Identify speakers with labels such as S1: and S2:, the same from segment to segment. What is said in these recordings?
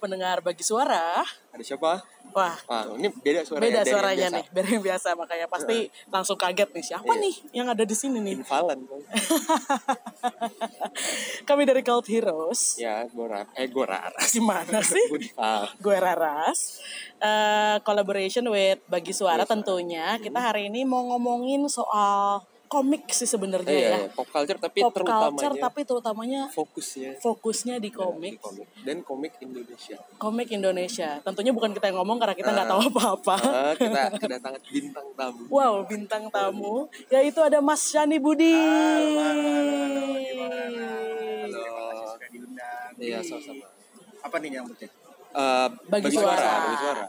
S1: pendengar bagi suara.
S2: Ada siapa?
S1: Wah,
S2: Ah, ini beda
S1: beda
S2: suaranya. dari yang
S1: suaranya
S2: biasa.
S1: nih, dari yang biasa makanya pasti langsung kaget nih siapa
S2: Iya.
S1: nih yang ada di sini nih.
S2: Invalan.
S1: Kami dari Cult Heroes.
S2: ya, Gorar. Eh, Gorar.
S1: Gimana sih?
S2: Budifal.
S1: Gue Raras. Eh, collaboration with Bagi Suara
S2: Iya.
S1: tentunya. Kita hari ini mau ngomongin soal komik sih sebenarnya
S2: Iya,
S1: ya.
S2: iya, pop culture tapi
S1: Pop
S2: terutamanya
S1: culture tapi terutamanya
S2: fokusnya
S1: fokusnya di
S2: di
S1: komik.
S2: komik dan komik Indonesia.
S1: Komik Indonesia. Tentunya bukan kita yang ngomong karena kita nggak tahu apa-apa.
S2: Ah, kita kedatangan bintang tamu.
S1: Wow, bintang tamu yaitu ada Mas Shani Budi.
S2: Halo.
S3: sudah diundang.
S2: Iya, sama-sama.
S3: Apa nih nyambutnya?
S2: Eh,
S1: Bagi suara.
S2: bagi suara.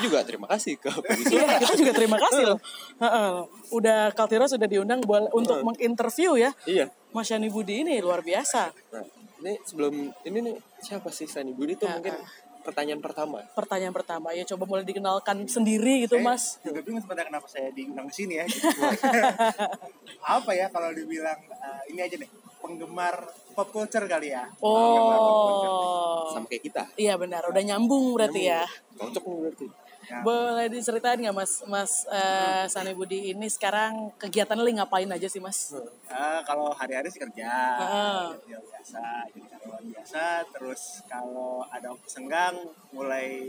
S1: Wah.
S2: juga terima kasih ke bagi
S1: Iya,
S2: suara.
S1: kita juga terima kasih loh. Heeh. Udah Kaltiro sudah diundang buat untuk menginterview ya.
S2: iya.
S1: Mas Shani Budi ini luar biasa.
S2: Nah, ini sebelum ini nih siapa sih Sani Budi
S1: Ah,
S2: itu mungkin pertanyaan pertama.
S1: Pertanyaan pertama, ya coba mulai dikenalkan sendiri gitu, Mas.
S3: Juga bingung sebenarnya kenapa saya diundang ke sini ya. Apa ya kalau dibilang eh, ini aja nih penggemar pop culture kali ya.
S1: Oh.
S2: Sama kayak kita.
S1: Iya benar, udah nyambung berarti ya.
S2: Cocok nih berarti.
S1: Boleh diceritain nggak Mas Mas eh, Sani Budi ini sekarang kegiatan li ngapain aja sih, Mas?
S3: Eh, kalau hari-hari sih kerja,
S1: Heeh.
S3: kerja biasa, jadi karyawan biasa. Terus kalau ada waktu senggang, mulai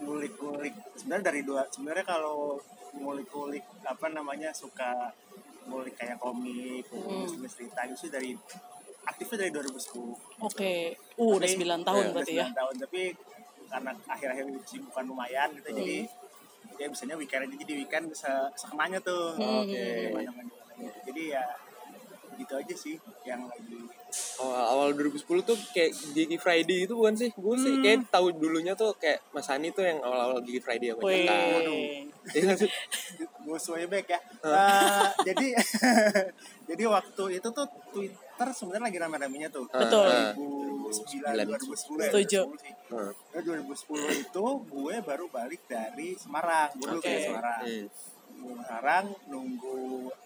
S3: ngulik-ngulik. Sebenarnya dari dua, sebenarnya kalau ngulik-ngulik apa namanya suka ngulik kayak komik, nulis nulis cerita itu sih dari aktifnya dari 2010.
S1: Oke, uh, udah 9 tahun
S2: Iya,
S1: berarti ya.
S3: 9 tahun tapi karena akhir-akhir ini kesibukan lumayan gitu jadi
S1: Hmm.
S3: ya biasanya weekend aja jadi weekend se sekenanya tuh
S2: Oke.
S3: Kemana-mana. jadi ya gitu aja sih yang lagi
S2: Awal, awal 2010 tuh kayak Gigi Friday itu bukan sih? Gue sih
S1: Hmm.
S2: kayak tahu dulunya tuh kayak Mas Hani tuh yang awal-awal Gigi Friday sama
S1: Wih.
S2: kita. Iya nggak sih?
S3: musuhnya back ya
S1: Hmm.
S3: Eh, jadi jadi waktu itu tuh Twitter sebenarnya lagi rame-ramenya tuh
S1: Hmm. Betul.
S2: Ah,
S3: 2009 2010 ya,
S1: Setuju.
S3: 2010 sih.
S2: ah, ah.
S3: Nah, 2010 itu gue baru balik dari Semarang gue dulu
S1: Oke.
S3: dari Semarang
S2: Hmm.
S3: Nunggu sekarang nunggu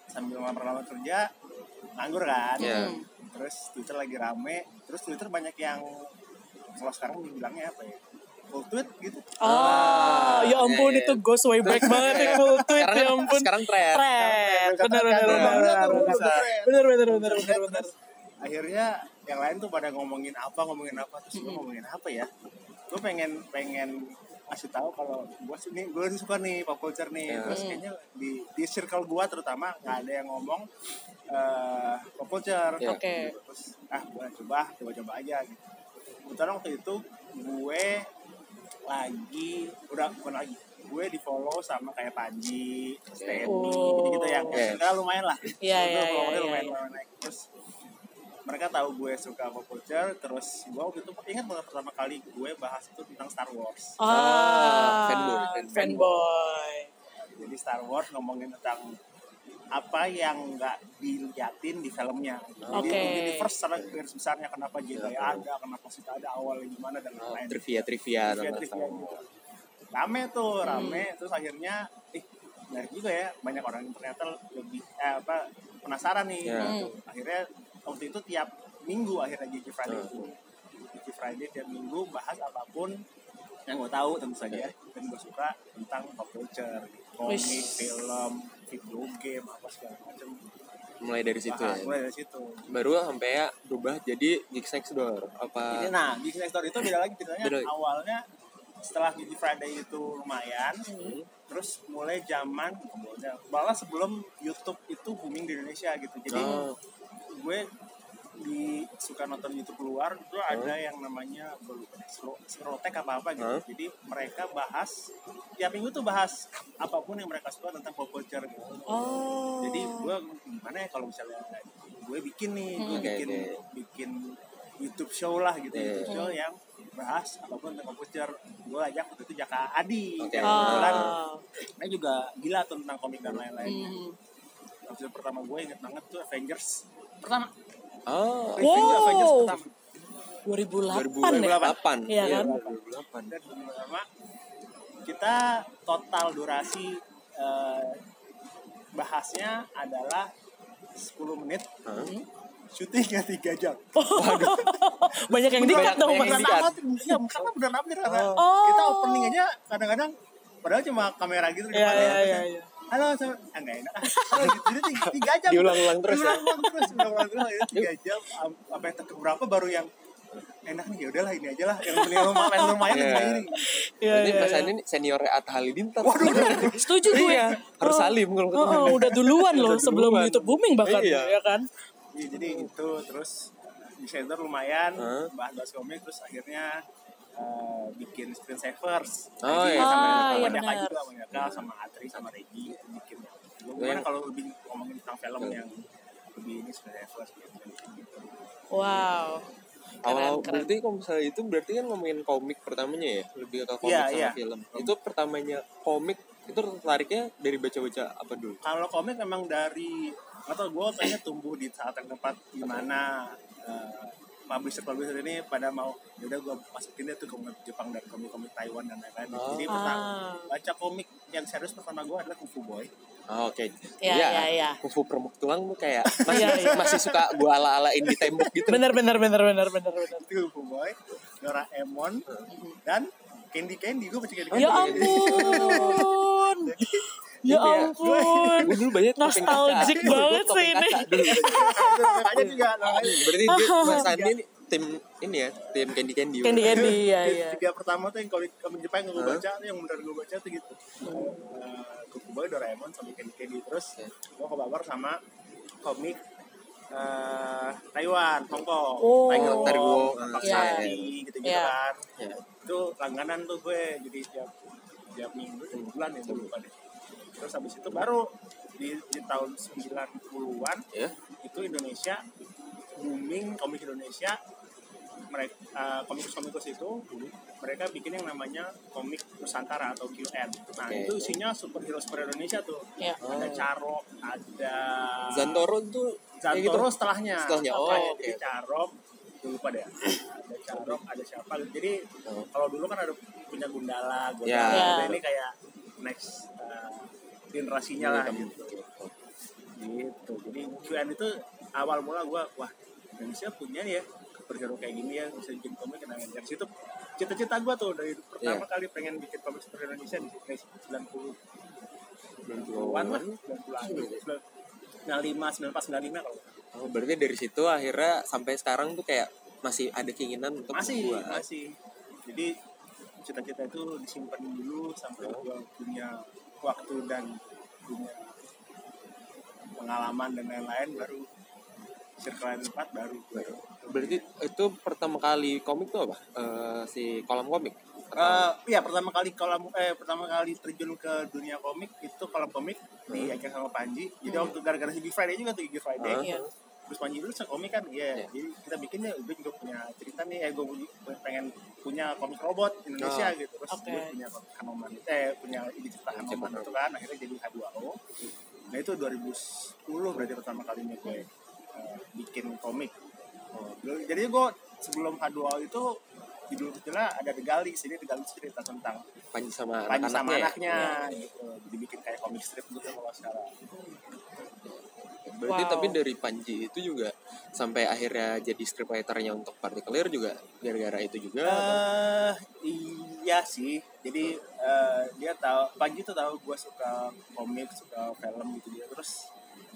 S3: sambil lama-lama kerja nganggur kan
S2: Iya.
S3: terus Twitter lagi rame terus Twitter banyak yang kalau sekarang dibilangnya apa ya full tweet gitu
S1: Oh, ya ampun
S2: iya, iya.
S1: itu goes way back banget ya full tweet
S2: Sekarang
S1: ya ampun.
S2: sekarang tren.
S1: Tren. Eh, Benar benar
S3: Bener,
S1: benar benar
S3: bener, bener,
S1: benar.
S3: bener.
S1: Benar benar benar benar benar.
S3: akhirnya yang lain tuh pada ngomongin apa ngomongin apa terus gue ngomongin apa ya gue pengen pengen kasih tahu kalau gue sih nih gue suka nih pop culture
S2: Iya.
S3: nih terus kayaknya di di circle gue terutama nggak ada yang ngomong eh pop culture
S2: Iya.
S1: Oke.
S3: terus ah gue coba coba coba aja gitu kebetulan waktu itu gue lagi udah bukan lagi gue di follow sama kayak Panji, Steny,
S1: Oh.
S3: gitu yang
S2: Yes.
S3: ya lumayan lah
S1: Iya,
S3: Terus
S1: iya,
S3: gue
S1: iya,
S3: followernya
S1: iya,
S3: lumayan,
S1: iya.
S3: lumayan naik terus mereka tahu gue suka pop culture terus gue waktu itu ingat banget pertama kali gue bahas itu tentang Star Wars
S1: Ah,
S2: fanboy,
S1: fanboy.
S2: fanboy.
S3: jadi Star Wars ngomongin tentang apa yang nggak diliatin di filmnya jadi
S1: Oke.
S3: universe secara garis besarnya kenapa Jedi ada kenapa Sith ada awalnya gimana dan
S2: Ah,
S3: lain-lain
S2: Trivia-trivia
S3: Trivia,
S2: tentang
S3: trivia
S2: Star
S3: gitu.
S2: Wars.
S3: rame tuh rame terus akhirnya eh menarik juga ya banyak orang yang ternyata lebih eh, apa penasaran nih
S2: Iya.
S3: gitu. akhirnya waktu itu tiap minggu akhirnya Gigi Friday
S2: Iya.
S3: itu Gigi Friday tiap minggu bahas apapun yang gue tahu tentu
S2: Iya.
S3: saja dan gue suka tentang pop culture komik
S1: Wish.
S3: film video game apa segala macam
S2: Mulai dari situ
S3: bahas
S2: ya.
S3: mulai dari situ
S2: Baru sampai ya berubah jadi Geeks Next Door
S3: Ini,
S2: apa
S3: nah Geeks Next Door itu beda lagi ceritanya
S2: Beda lagi.
S3: awalnya setelah Gigi Friday itu lumayan
S2: Hmm.
S3: terus mulai zaman malah sebelum YouTube itu booming di Indonesia gitu jadi
S2: Oh.
S3: gue di suka nonton YouTube luar itu ada yang namanya gue lupa, Slo- Scrotek apa apa gitu
S2: Huh?
S3: jadi mereka bahas tiap minggu tuh bahas apapun yang mereka suka tentang pop culture gitu
S1: Oh.
S3: jadi gue gimana ya kalau misalnya gue bikin nih gue
S2: Hmm. Oke,
S3: bikin
S2: oke.
S3: bikin YouTube show lah gitu
S2: Iya.
S3: YouTube show yang bahas apapun tentang komputer gue ajak waktu itu Jaka Adi
S2: Oke. Oh.
S3: yang kebetulan
S1: Ah.
S3: dia juga gila tuh tentang komik dan lain-lain
S1: Hmm.
S3: episode pertama gue inget banget tuh Avengers pertama
S2: Oh,
S1: Wow.
S3: Avengers pertama
S1: 2008 ya.
S2: 2008.
S1: Iya kan?
S2: 2008.
S3: dan pertama kita total durasi eh, bahasnya adalah 10 menit
S2: Hah?
S3: syutingnya tiga jam
S1: banyak yang dikat dong
S2: Banyak
S1: mas
S2: yang
S3: beneran
S2: di-cut.
S3: upload iya karena beneran upload karena
S1: Oh.
S3: kita opening aja kadang-kadang padahal cuma kamera gitu di
S1: Iya,
S3: depannya.
S1: iya, iya, iya.
S3: halo sama ah nggak enak Halo, gitu. jadi tiga, tiga jam
S2: Diulang-ulang terus ya?
S3: diulang-ulang terus diulang-ulang terus akhirnya tiga jam am- sampai yang berapa baru yang enak nih ya udahlah ini aja lah yang bener lumayan lumayan
S2: Iya.
S3: yeah. ini
S1: Iya,
S2: Berarti
S1: iya,
S2: Mas
S1: iya.
S2: Andi ini senior Atta Halilintar.
S3: waduh
S1: setuju gue
S2: Iya, harus salim kalau
S1: Oh, oh, udah duluan loh
S2: Udah
S1: sebelum
S2: duluan.
S1: YouTube booming bahkan
S2: Iya.
S1: ya kan
S3: Iya, jadi itu terus di sensor lumayan
S2: Hah?
S3: bahas komik terus akhirnya eh, bikin screensavers
S2: Oh, iya.
S3: sama,
S1: Ah,
S3: sama
S1: iya,
S3: Daka
S1: benar.
S3: juga sama Daka sama Atri sama Regi itu bikin Lu gimana
S2: Yang-
S3: kalau lebih ngomongin tentang film yang lebih ini screensavers gitu
S1: wow Keren,
S2: Awal
S1: keren.
S2: berarti kalau misalnya itu berarti kan ngomongin komik pertamanya ya, lebih ke komik
S3: Iya,
S2: sama
S3: iya.
S2: film. Itu pertamanya komik itu tertariknya dari baca-baca apa dulu?
S3: kalau komik memang dari atau gue kayaknya tumbuh di saat yang tepat di mana eh, publisher-publisher ini pada mau yaudah gue masukin deh tuh komik Jepang dan komik-komik Taiwan dan lain-lain
S2: Oh.
S3: jadi pertama
S1: ah
S3: baca komik yang serius pertama gue adalah Kung Fu Boy.
S2: Oh, Oke.
S1: Iya, iya, iya.
S2: Kufu permuk tulang tuh kayak masih
S1: Iya, iya.
S2: masih suka gua ala-alain di tembok gitu.
S1: bener bener bener bener bener bener
S3: Itu Kung Fu Boy, Doraemon, dan Candy Candy. Gue baca Candy Candy.
S1: ya ampun ya
S2: Iya.
S1: ampun
S2: Gue dulu banyak topeng kaca.
S1: Nostalgic
S2: Gua
S1: banget sih
S2: topeng kaca
S1: ini.
S2: dulu.
S3: Aja juga. nah, namanya.
S2: Berarti dia, Mas Andi ini tim ini ya, tim Candy Candy. Iya.
S1: Candy Candy ya ya
S3: Tiga pertama tuh yang komik komik Jepang yang gue
S2: Hah?
S3: baca, tuh yang benar gue baca tuh gitu. Eh, Kung Fu Boy, Doraemon, sama Candy Candy. Terus
S2: Iya.
S3: gue kebabar sama komik eh, Taiwan, Hong Kong,
S1: Oh.
S3: Tiger
S2: Tiger Wong,
S3: Wong, Tampak
S1: iya.
S3: Sari, gitu-gitu
S1: Iya.
S3: kan.
S2: Iya.
S3: itu langganan tuh gue jadi tiap tiap minggu tiap bulan ya gue lupa deh terus habis itu baru di, di tahun 90-an
S2: Ya.
S3: itu Indonesia booming komik Indonesia mereka komikus-komikus itu mereka bikin yang namanya komik Nusantara atau QN. Nah
S2: Oke. Oh.
S3: itu isinya superhero superhero Indonesia tuh
S1: ya
S3: ada Caro, ada
S2: Zantoro tuh kayak gitu.
S3: Zantoro setelahnya.
S2: Setelahnya, oh, oke,
S3: jadi
S2: oke.
S3: Carok, gue lupa deh. Ada Carok, ada siapa? gitu. Jadi
S2: Oh.
S3: kalau dulu kan ada punya Gundala, Gundala.
S2: Ya.
S1: Ya.
S3: Ini kayak next uh,
S1: Iya
S3: generasinya
S2: Iya,
S3: lah gitu. Gitu. Jadi QN itu awal mula gue wah Indonesia punya nih ya superhero kayak gini ya bisa bikin komik kenangan dari situ cita-cita gue tuh dari pertama kali pengen bikin komik superhero Indonesia di di 90 90-an lah 90-an nah 5 94 95 kalau
S2: Oh, berarti dari situ akhirnya sampai sekarang tuh kayak masih ada keinginan untuk
S3: masih
S2: membuat.
S3: masih jadi cita-cita itu disimpan dulu sampai gua punya waktu dan punya pengalaman dan lain-lain baru circle 4 baru gua
S2: Berarti itu pertama kali komik tuh apa? Eh, si kolam komik.
S3: Eh, iya pertama kali kolam eh pertama kali terjun ke dunia komik itu kolam komik di Akhir sama Panji jadi waktu gara-gara si Good Friday juga tuh Good Friday
S1: Iya.
S3: terus Panji dulu suka komik kan iya
S2: Iya.
S3: jadi kita bikin ya gue juga punya cerita nih eh gue pengen punya komik robot Indonesia gitu terus
S1: Oke.
S3: gue punya komik Hanoman eh punya ide cerita
S2: Cerita
S3: Hanoman itu kan akhirnya jadi H2O nah itu 2010 berarti pertama kalinya gue eh, bikin komik Oh, Dulu- jadi gue sebelum H2O itu judul kecilnya ada The Galis jadi The Galis cerita tentang
S2: Panji sama anak-anaknya.
S3: Panji sama
S2: ya?
S3: anaknya gitu jadi bikin kayak komik strip gitu kalau nggak salah
S2: Berarti
S1: Wow.
S2: tapi dari Panji itu juga sampai akhirnya jadi strip writer-nya untuk Particular juga gara-gara itu juga. atau-
S3: eh iya sih. Jadi eh, dia tahu pagi tuh tahu gue suka komik, suka film gitu dia. Terus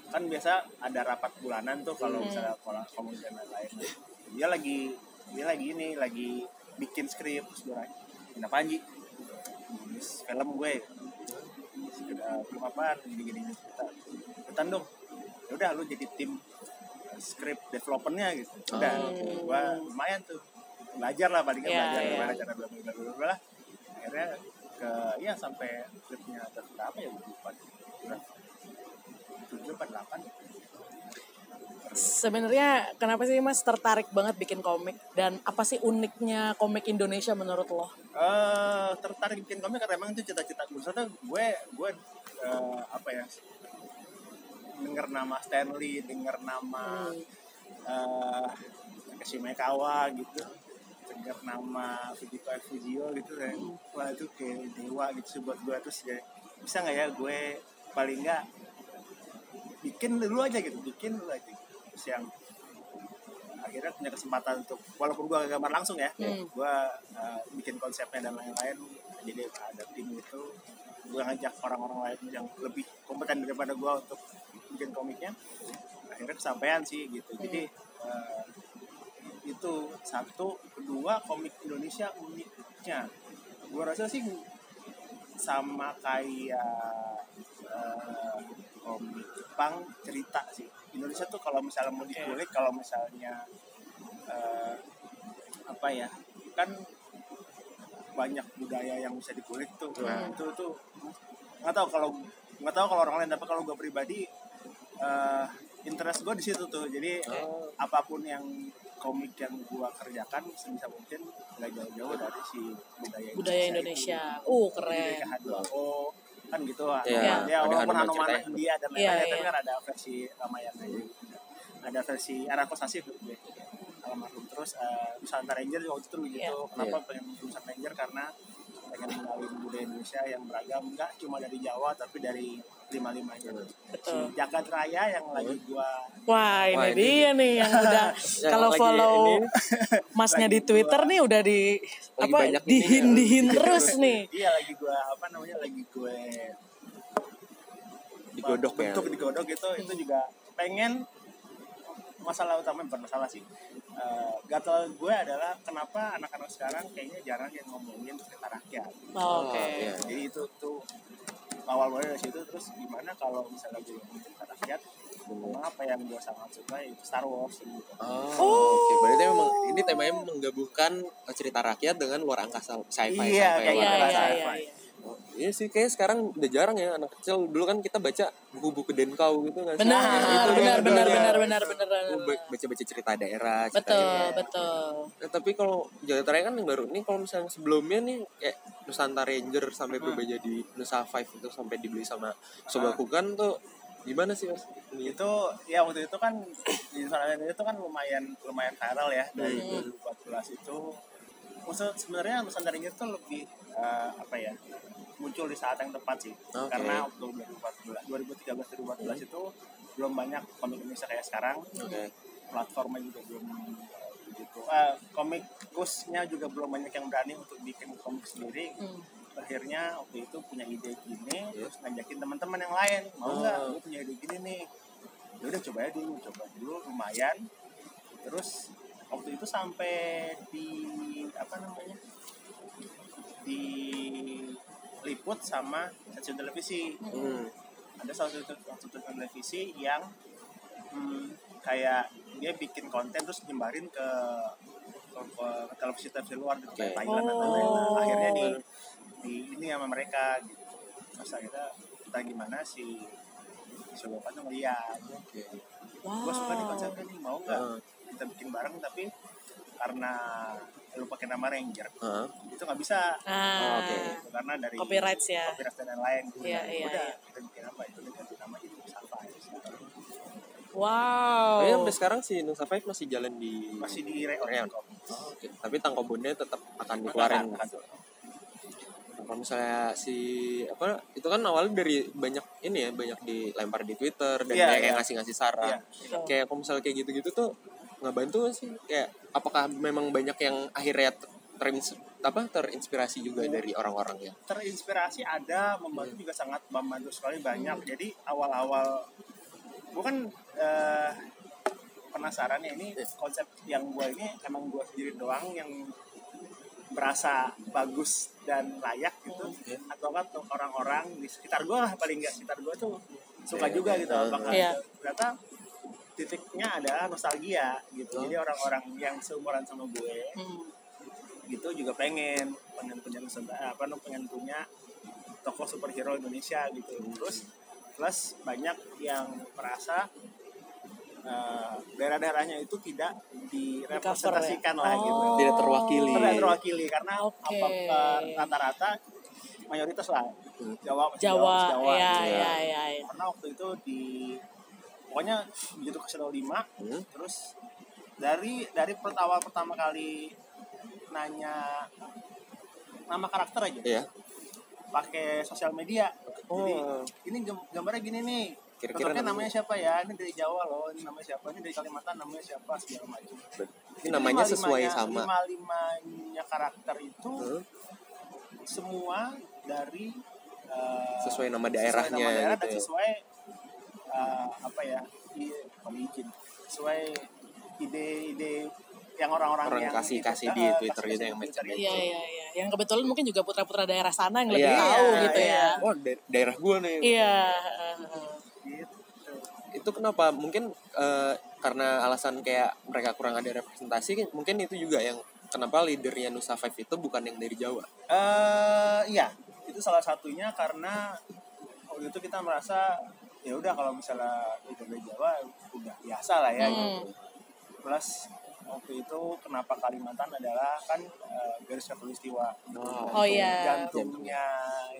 S3: kan biasa ada rapat bulanan tuh kalau misalnya sekolah komik dan lain-lain. Dia lagi dia lagi ini lagi bikin skrip terus gue nanya, "Kenapa Panji?" "Nulis film gue sekedar film apaan gini-gini cerita Ikutan dong ya udah lu jadi tim eh, script developernya gitu udah gua lumayan tuh belajar lah paling nggak
S1: Ya,
S3: belajar
S1: ya.
S3: gimana cara bla bla bla bla bla lah. akhirnya ke ya sampai scriptnya ada berapa ya gue lupa udah tujuh empat delapan
S1: sebenarnya kenapa sih mas tertarik banget bikin komik dan apa sih uniknya komik Indonesia menurut lo
S3: eh tertarik bikin komik karena emang itu cita-cita gue. Soalnya gue gue eh, apa ya denger nama Stanley, denger nama eh Takeshi Maekawa gitu, denger nama Fujiko F. Fujio gitu ya. Wah itu kayak dewa gitu sih buat gue terus kayak bisa nggak ya gue paling nggak bikin dulu aja gitu, bikin dulu aja. Terus yang akhirnya punya kesempatan untuk walaupun gue gak gambar langsung ya gue bikin konsepnya dan lain-lain jadi ada tim itu gue ngajak orang-orang lain yang lebih kompeten daripada gue untuk bikin komiknya akhirnya kesampaian sih gitu jadi eh, itu satu kedua komik Indonesia uniknya gue rasa sih sama kayak eh, komik Jepang cerita sih Indonesia tuh kalau misalnya mau dikulik kalau misalnya eh, apa ya kan banyak budaya yang bisa dikulik tuh
S2: Hmm.
S3: itu tuh nggak tahu kalau nggak tahu kalau orang lain tapi kalau gue pribadi eh, interest gue di situ tuh jadi
S2: Oh.
S3: apapun yang komik yang gue kerjakan sebisa mungkin nggak jauh-jauh dari si budaya
S1: budaya
S3: itu.
S1: Indonesia. Uh
S3: Jadi
S1: keren.
S3: kayak H2O kan gitu lah.
S2: Iya,
S3: Ya,
S2: ada
S3: walaupun
S2: Hanuman
S3: Hanuman
S2: ceritanya.
S3: India dan
S1: Iya,
S3: lain-lain, tapi
S1: iya.
S3: kan ada versi Ramayana aja. Ada versi Arako Sasif gue. Almarhum terus eh, Nusantara Ranger juga waktu itu begitu.
S1: Iya.
S3: Kenapa pengen Nusantara Ranger karena pengen mengenalin budaya Indonesia yang beragam nggak cuma dari Jawa tapi dari lima limanya
S1: Betul.
S3: si Jagat Raya yang lagi gua
S1: Wah ini,
S2: Wah, ini
S1: dia nih yang udah
S2: Yang
S1: kalau
S2: lagi
S1: follow
S2: ini.
S1: masnya di
S3: Lagi
S1: Twitter nih udah di
S2: Lagi
S1: apa
S2: banyak
S1: dihin
S2: ini ya.
S1: dihin terus nih.
S3: iya lagi gue apa namanya lagi gue
S2: Digodok ya.
S3: untuk digodok itu itu juga pengen masalah utama bukan masalah sih Eh, gatel gue adalah kenapa anak-anak sekarang kayaknya jarang yang ngomongin cerita rakyat
S1: Oke.
S2: iya.
S3: jadi itu tuh awal mulanya dari situ terus gimana kalau misalnya gue ngomongin cerita rakyat ngomong apa yang gue sangat suka itu Star Wars gitu.
S2: Oh,
S1: Oh.
S2: oke. Berarti emang ini temanya menggabungkan cerita rakyat dengan luar angkasa sci-fi
S3: Iya,
S2: sci-fi.
S1: Iya
S2: luar
S3: kayak gitu.
S1: iya
S2: angkasa.
S1: iya.
S3: Sci-fi.
S1: iya.
S2: Oh, iya sih kayak sekarang udah jarang ya anak kecil. Dulu kan kita baca buku-buku Denkau gitu nggak sih?
S1: Benar,
S2: Nah, itu dia
S1: benar,
S2: dulu
S1: benar,
S2: ya.
S1: benar, benar, benar,
S2: Lu
S1: benar.
S2: ba- Baca-baca cerita daerah. cerita
S1: Betul,
S2: daerah.
S1: betul.
S2: Nah, tapi kalau Jagat Raya kan yang baru ini kalau misalnya sebelumnya nih kayak Nusantara Ranger
S1: Hmm.
S2: sampai berubah jadi Nusa Five itu sampai dibeli sama Sobakukan tuh gimana sih mas? Ini
S3: itu ya waktu itu kan di Instagram itu kan lumayan lumayan viral ya dari 2014 itu maksud sebenarnya Nusantara Inggris itu lebih eh, apa ya muncul di saat yang tepat sih
S2: Oke.
S3: karena waktu 2014 2013 2014 itu belum banyak komik Indonesia kayak sekarang
S1: Hmm.
S2: Oke.
S3: platformnya juga belum eh, begitu Eh, komik kusnya juga belum banyak yang berani untuk bikin komik sendiri
S1: Hmm.
S3: akhirnya waktu itu punya ide gini terus ngajakin teman-teman yang lain mau nggak
S2: Oh.
S3: gue punya ide gini nih ya udah coba aja dulu coba dulu lumayan terus waktu itu sampai di apa namanya di liput sama stasiun televisi
S2: Hmm.
S3: ada salah satu salah satu televisi yang hmm, kayak dia bikin konten terus nyebarin ke ke, ke televisi televisi luar gitu kayak
S2: Oke.
S3: Thailand dan lain-lain.
S1: Oh.
S3: akhirnya di, di ini sama mereka gitu terus akhirnya kita gimana si si Wopan tuh ngeliat
S2: Oke.
S3: gue suka nih
S1: Wow.
S3: konsepnya nih mau nggak
S1: Oh.
S2: Heeh.
S3: kita bikin bareng tapi karena lu pakai nama Ranger
S2: Heeh.
S1: Oh.
S3: itu nggak bisa
S1: Ah,
S2: Oke.
S3: gitu, karena dari
S1: Copyrights ya.
S3: copyrights dan lain-lain gitu.
S1: Iya, iya,
S3: udah
S1: iya.
S3: kita bikin apa itu udah ganti nama jadi Safa
S1: Wow.
S2: Tapi sampai sekarang si Nusa Five masih jalan di
S3: masih di reorient kok
S2: Oh, oke. Tapi tangkobonnya tetap akan dikeluarin.
S3: Akan, akan.
S2: Nah, Kalau misalnya si apa itu kan awalnya dari banyak ini ya banyak dilempar di Twitter dan
S3: Iya,
S2: banyak yang
S3: iya.
S2: ngasih-ngasih saran.
S3: Iya.
S1: Betul.
S2: Kayak kalau misalnya kayak gitu-gitu tuh nggak bantu nggak sih. Kayak apakah memang banyak yang akhirnya ter- terins- apa terinspirasi juga
S3: Iya.
S2: dari orang-orang ya?
S3: terinspirasi ada membantu juga sangat membantu sekali banyak jadi awal-awal gue kan eh, penasaran ya ini konsep yang gue ini emang gue sendiri doang yang berasa bagus dan layak gitu atau kan tuh orang-orang di sekitar gue lah paling nggak sekitar gue tuh suka
S2: Iya,
S3: juga
S2: iya.
S3: gitu bakal
S1: Iya.
S3: ternyata titiknya adalah nostalgia gitu jadi orang-orang yang seumuran sama gue
S1: Hmm.
S3: gitu juga pengen pengen punya Nusantara apa namanya, pengen punya tokoh superhero Indonesia gitu terus plus banyak yang merasa eh, daerah-daerahnya itu tidak direpresentasikan lah
S1: Di-cover ya?
S3: gitu
S1: Oh.
S2: Tidak terwakili.
S3: tidak terwakili karena
S1: Oke.
S3: apa eh, rata-rata mayoritas lah Jawa masih
S1: Jawa,
S3: masih Jawa
S1: ya,
S3: gitu.
S1: ya, ya, ya.
S3: karena waktu itu di pokoknya begitu ke Shadow 5
S2: Hmm.
S3: terus dari dari pertama pertama kali nanya nama karakter aja
S2: Iya.
S3: pakai sosial media
S2: Oh.
S3: jadi ini gam- gambarnya gini nih
S2: Kira-kira
S3: Tetapnya namanya siapa ya? Ini dari Jawa loh, ini namanya siapa? Ini dari Kalimantan namanya siapa? Segala macam.
S2: Ini namanya sesuai
S3: lima-limanya-
S2: sama. Hmm.
S3: Lima-limanya karakter itu
S2: Heeh,
S3: semua dari eh,
S2: Sesuai nama
S3: sesuai nama
S2: daerahnya
S3: daerah
S2: gitu
S3: dan
S2: ya.
S3: sesuai eh, apa ya? i- Kalau izin, sesuai ide-ide yang orang-orang
S2: Orang
S3: yang
S2: kasih-kasih di
S3: eh,
S2: Twitter
S3: kasih-kasih
S2: gitu yang
S3: di Twitter
S2: macam-macam.
S1: Iya, iya, iya. Yang kebetulan mungkin juga putra-putra daerah sana yang lebih
S2: Iya,
S1: tahu
S3: iya,
S1: gitu
S3: iya.
S1: ya.
S2: Oh, da- daerah gua nih.
S1: Iya. heeh.
S3: Gitu.
S2: itu kenapa mungkin eh, karena alasan kayak mereka kurang ada representasi mungkin itu juga yang kenapa leadernya Nusa Five itu bukan yang dari Jawa
S3: eh iya, itu salah satunya karena waktu itu kita merasa ya udah kalau misalnya lidah Jawa udah biasa lah ya.
S1: Hmm.
S3: Gitu. Plus waktu itu kenapa Kalimantan adalah kan eh, garis khatulistiwa.
S1: Oh, iya.
S3: Jantungnya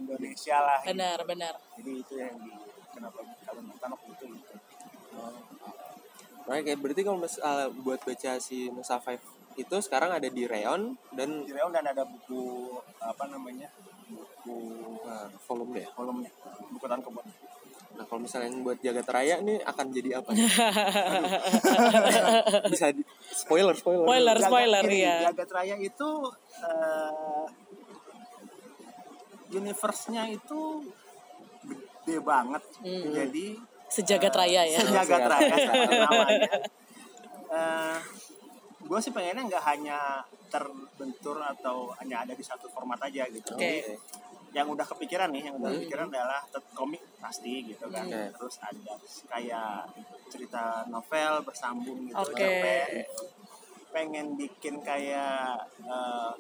S3: Indonesia lah. gitu.
S1: Benar, benar.
S3: Jadi itu yang di kenapa Kalimantan waktu itu gitu.
S2: Nah, kayak berarti kalau mis- eh, buat baca si Nusa Five itu sekarang ada di Reon dan
S3: Di Reon dan ada buku apa namanya? Buku
S2: eh, volume ya.
S3: kolomnya, buku tanpa kebun.
S2: Nah kalau misalnya yang buat jagat raya nih akan jadi apa? nih? Bisa di- spoiler spoiler. Oh,
S1: Spoiler.
S3: Jagat-
S1: spoiler,
S3: gini,
S1: iya.
S3: Jagat Raya itu eh, universe-nya itu gede banget.
S1: Hmm.
S3: Jadi
S1: Sejagat
S3: eh,
S1: raya ya.
S3: Sejagat
S2: Sejagat
S3: Raya
S2: Raya.
S3: seperti namanya. gue sih pengennya nggak hanya terbentur atau hanya ada di satu format aja gitu.
S1: Oke.
S2: iya.
S3: Jadi, Yang udah kepikiran nih, yang udah kepikiran adalah tet- komik pasti gitu kan.
S2: Hmm.
S3: Terus ada kayak cerita novel bersambung gitu.
S1: Oke.
S3: Sampai pengen bikin kayak eh,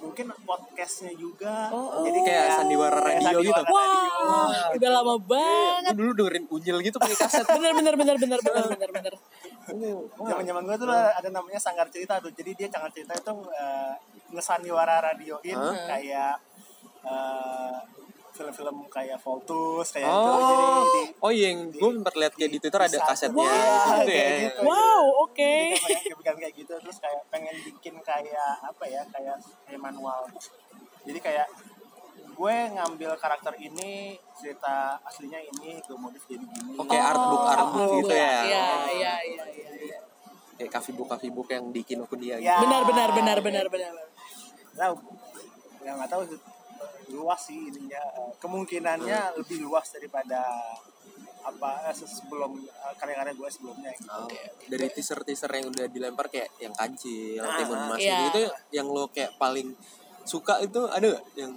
S3: mungkin podcastnya juga
S1: Oh,
S2: Jadi kayak
S1: Oh.
S2: sandiwara
S3: Kayak
S2: radio gitu.
S3: sandiwara.
S1: Wah, udah lama banget.
S2: Gue dulu dengerin unyil gitu pakai kaset.
S1: Bener, bener, bener, bener, bener, bener, bener.
S3: zaman zaman gue tuh ada namanya sanggar cerita tuh jadi dia sanggar cerita itu eh, ngesandiwara radioin
S2: Hah?
S3: kayak eh, film-film kayak Voltus kayak itu
S2: Oh,
S3: jadi di-
S2: oh iya, yang gue sempat lihat kayak di Twitter ada
S3: Bisa.
S2: kasetnya
S3: Wah,
S2: gitu ya.
S3: kayak gitu.
S1: Wow, oke.
S3: jadi kayak pengen- pengen kayak gitu terus kayak pengen bikin kayak apa ya kayak kayak manual jadi kayak gue ngambil karakter ini cerita aslinya ini gue modif jadi gini
S2: Oke, art book,
S1: Oh,
S2: art book gitu ya.
S1: Iya, iya, iya, iya, iya.
S2: Kayak kafibuk kafibuk yang di Kinokuniya
S3: Ya.
S2: gitu.
S1: Benar, benar, benar, benar, benar.
S3: nah, ya nggak tahu luas sih ininya eh, kemungkinannya lebih luas daripada apa eh, sebelum eh, karya-karya gue sebelumnya gitu.
S2: Oh, Dari teaser-teaser yang udah dilempar kayak yang kancil,
S3: Ah,
S2: timun mas
S1: iya.
S2: gitu, itu yang lo kayak paling suka itu ada gak yang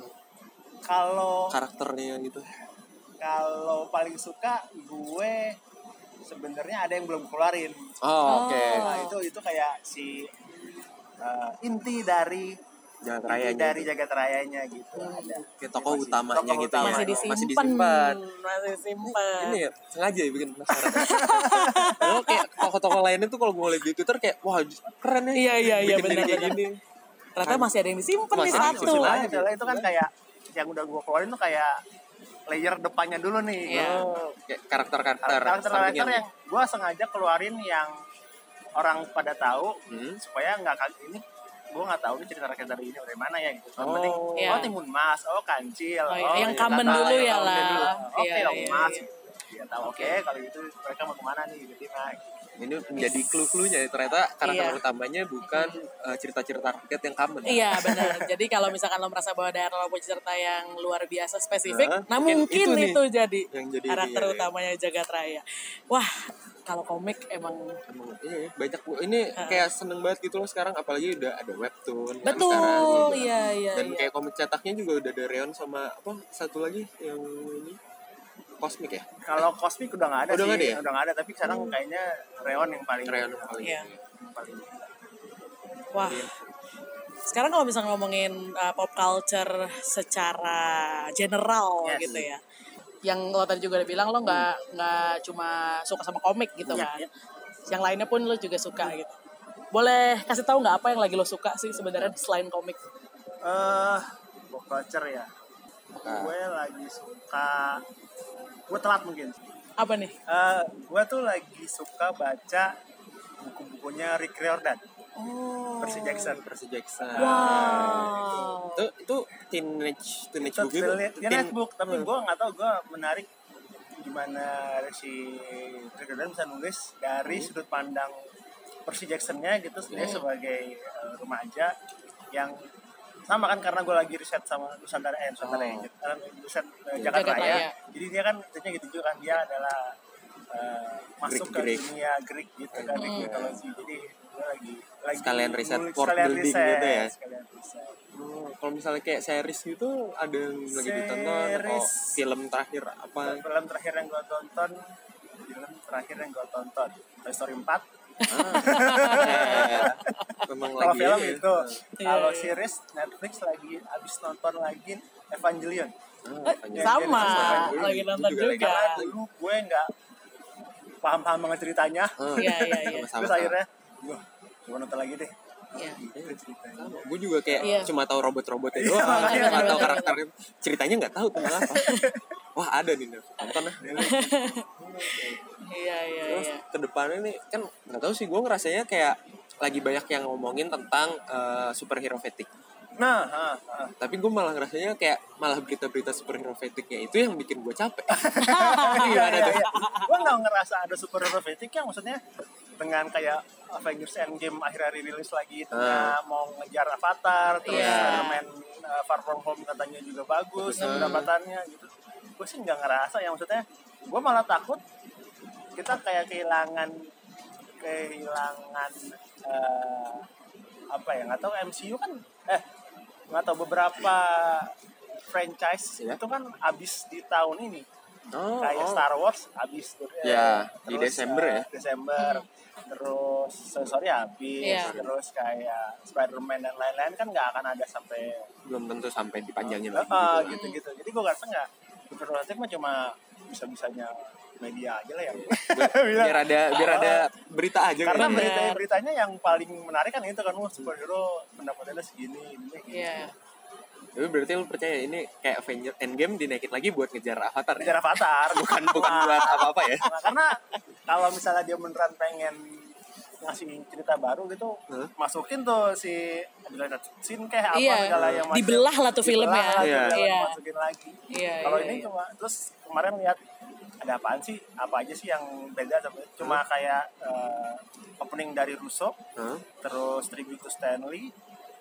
S3: kalau
S2: karakternya gitu?
S3: kalau paling suka gue sebenarnya ada yang belum keluarin
S2: Oh, oke.
S1: Oh.
S3: Nah, itu itu kayak si eh, inti dari
S2: Jangan
S3: inti
S2: rayanya.
S3: dari
S2: itu.
S3: jagat rayanya gitu ada.
S2: Kayak tokoh
S3: Masih-
S2: utamanya
S3: tokoh Iya,
S2: gitu ya.
S1: Masih
S2: Masih
S1: disimpan.
S2: disimpan.
S1: Masih disimpan.
S2: Ini ya, sengaja ya bikin penasaran. Lo kayak tokoh-tokoh lainnya tuh kalau gue lihat di Twitter kayak, wah keren ya.
S1: Iya, iya, iya,
S2: Bikin diri
S1: benar,
S2: kayak
S1: benar.
S2: gini.
S1: Ternyata masih ada yang disimpan nih
S2: Masih ya.
S3: Nah,
S1: satu.
S2: disimpan.
S3: masalahnya adalah itu kan kayak yang udah gue keluarin tuh kayak layer depannya dulu nih.
S1: Iya.
S3: Oh.
S2: Kayak karakter-karakter.
S3: Karakter-karakter
S2: sampingan.
S3: yang gue sengaja keluarin yang orang pada tahu
S2: Hmm.
S3: supaya nggak kaget ini gue nggak tahu nih cerita rakyat dari ini dari mana ya gitu. Yang
S2: Oh.
S3: penting
S1: Iya.
S3: oh timun mas, oh kancil,
S1: Oh, iya. Yang
S3: Jakarta,
S1: common dulu
S3: yang
S1: ya
S3: common
S1: lah.
S3: dulu. Oke,
S1: Iya,
S3: lah,
S1: iya,
S3: mas.
S1: iya.
S3: Ya tahu oke kalau gitu mereka mau kemana nih gitu nah.
S2: ini menjadi clue-cluenya ya, ternyata karakter
S1: Iya.
S2: utamanya bukan eh, cerita-cerita rakyat yang common
S1: Iya benar. Jadi kalau misalkan lo merasa bahwa daerah lo punya cerita yang luar biasa spesifik,
S2: Nah,
S1: nah
S2: mungkin
S1: mungkin
S2: itu nih
S1: itu, jadi
S2: yang jadi ini,
S1: karakter
S2: iya, iya.
S1: utamanya Jagat Raya. Wah, kalau komik emang
S2: Emang, iya, banyak ini kayak seneng banget gitu loh sekarang apalagi udah ada webtoon kan sekarang
S1: betul, iya iya
S2: dan
S1: iya.
S2: kayak komik cetaknya juga udah ada Reon sama apa satu lagi yang ini kosmik ya
S3: Kalau kosmik udah nggak ada
S2: Udah
S3: sih,
S2: nggak ada ya?
S3: udah nggak ada. Tapi sekarang kayaknya Reon yang paling
S2: Reon yang paling
S1: Iya.
S3: yang paling
S1: Wah. Iya. Sekarang kalau misalnya ngomongin uh, pop culture secara general
S3: Yes.
S1: gitu ya. Yang lo tadi juga udah bilang lo nggak nggak cuma suka sama komik gitu
S3: Iya,
S1: kan.
S3: iya.
S1: Yang lainnya pun lo juga suka gitu. Boleh kasih tahu nggak apa yang lagi lo suka sih sebenarnya selain komik?
S3: Eh, pop culture ya.
S2: Nah.
S3: Gue lagi suka gue telat mungkin.
S1: Apa nih?
S3: Eh, gue tuh lagi suka baca buku-bukunya Rick Riordan,
S1: Oh.
S3: Percy Jackson.
S2: Percy Jackson
S1: Wow.
S2: itu itu teenage teenage
S3: Itu
S2: book itu
S3: thriller- dia
S2: Teen-
S3: netbook, tapi gue nggak tahu gue menarik gimana si Ricardo bisa nulis
S2: Hmm.
S3: dari sudut pandang Percy Jackson-nya gitu sebenarnya sebagai eh, remaja yang sama kan karena gue lagi riset sama Nusantara eh,
S2: Oh.
S3: Nusantara
S2: Iya.
S3: ya, eh, riset eh, Jakarta
S1: Jakarta,
S3: Raya.
S1: ya.
S3: Jadi dia kan intinya gitu juga kan dia adalah eh, masuk ke
S2: Greek-Greek. Hmm.
S3: dunia Greek gitu kan Greek mythology. Jadi gue lagi lagi
S2: Sekalian riset
S3: ngulik-
S2: world
S3: sekalian
S2: building
S3: riset,
S2: gitu ya.
S3: Sekalian riset.
S2: Hmm, kalau misalnya kayak series gitu ada yang lagi ditonton atau
S3: Series.
S2: film terakhir apa
S3: Film terakhir yang gue tonton film terakhir yang gue tonton Toy Story 4
S2: Eh, memang
S3: kalau
S2: lagi
S3: film
S2: ini.
S3: itu
S1: Iya,
S3: kalau
S1: iya.
S3: series Netflix lagi abis nonton lagi Evangelion
S2: Ah, panjang.
S1: Eh, sama,
S2: Evangelion
S1: lagi
S2: itu
S1: nonton
S2: juga
S1: juga.
S3: karena dulu gue nggak paham-paham banget ceritanya
S2: Ah,
S1: Iya, iya, iya.
S2: sama-sama.
S3: terus akhirnya gue coba nonton lagi deh
S1: Iya.
S3: Gitu ceritanya.
S2: gue juga kayak
S1: Iya.
S2: cuma tahu robot-robotnya
S3: Iya,
S2: doang
S1: makanya.
S2: cuma tahu karakternya ceritanya nggak tahu tentang apa wah ada nih Nev. nonton lah
S1: Iya, iya,
S2: terus
S1: iya.
S2: kedepannya nih kan nggak tahu sih gue ngerasanya kayak lagi banyak yang ngomongin tentang eh, superhero fatigue
S3: nah ah, ah.
S2: tapi gue malah ngerasanya kayak malah berita-berita superhero fatigue-nya itu yang bikin gue capek
S3: iya
S2: gimana
S3: iya
S2: tuh
S3: iya gue nggak ngerasa ada super romantic ya maksudnya dengan kayak Avengers Endgame akhir-akhir rilis lagi tengah mau ngejar Avatar terus
S1: Iya.
S3: Spiderman uh, Far From Home katanya juga
S2: Bagus.
S3: bagus pendapatannya gitu gue sih nggak ngerasa ya maksudnya gue malah takut kita kayak kehilangan kehilangan eh, apa ya nggak tahu MCU kan eh nggak tahu beberapa franchise
S2: Iya.
S3: itu kan abis di tahun ini
S2: Oh,
S3: kayak
S2: oh.
S3: Star Wars habis tuh eh,
S2: Ya, di Desember
S3: eh,
S2: ya.
S3: Desember terus sorry habis
S1: Iya.
S3: terus kayak Spider-Man dan lain-lain kan nggak akan ada sampai
S2: belum tentu sampai dipanjangin
S3: eh,
S2: lagi
S3: eh,
S2: gitu.
S3: gitu-gitu jadi gue ngerasa nggak Superlatif mah cuma bisa-bisanya media aja lah ya
S2: biar ada biar ada berita aja kan.
S3: karena
S2: kayaknya.
S1: bener.
S3: berita-beritanya yang paling menarik kan itu kan wah superhero pendapatannya segini ini gitu.
S1: Iya.
S2: tapi berarti lu percaya ini kayak Avenger Endgame dinaikin lagi buat ngejar Avatar ya?
S3: Bicara Avatar
S2: bukan bukan
S3: Ah.
S2: buat apa apa ya
S3: Nah, karena kalau misalnya dia beneran pengen ngasih cerita baru gitu
S2: Hah?
S3: masukin tuh si ada sin kayak apa
S1: Iya,
S3: segala yang masih-
S1: dibelah lah tuh
S3: dibelah
S1: filmnya.
S3: lah,
S2: Iya.
S3: dibelah,
S1: Iya.
S3: masukin lagi
S1: Iya,
S3: kalau
S1: iya,
S3: ini
S1: iya.
S3: cuma terus kemarin lihat ada apaan sih apa aja sih yang beda sama cuma kayak eh, opening dari Russo
S2: Hah?
S3: terus tribute to Stanley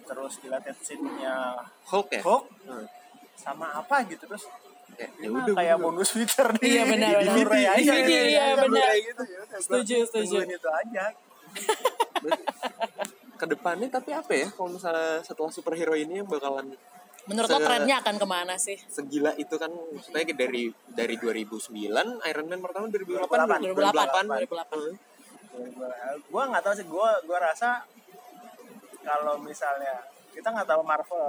S3: terus dilihat scene-nya
S2: Hulk ya
S3: Hulk
S2: Hah.
S3: sama apa gitu terus
S2: Kayak, ya
S3: ini mah
S2: udah
S3: kayak
S2: gua-
S3: bonus feature nih
S1: Iya, benar,
S3: di ya?
S1: benar.
S3: Blu-ray
S1: Di
S3: aja
S1: DVD, iya,
S3: Di
S1: benar.
S3: Blu-ray gitu, ya udah, gua
S1: Setuju, setuju.
S3: tungguin itu aja
S2: kedepannya tapi apa ya kalau misalnya setelah superhero ini yang bakalan
S1: Menurut lo
S2: Se-
S1: trennya akan kemana sih?
S2: segila itu kan maksudnya dari dari 2009 Iron Man pertama 2008
S1: 2008, 2008.
S2: Heeh.
S3: gue nggak tahu sih gue gue rasa kalau misalnya kita nggak tahu Marvel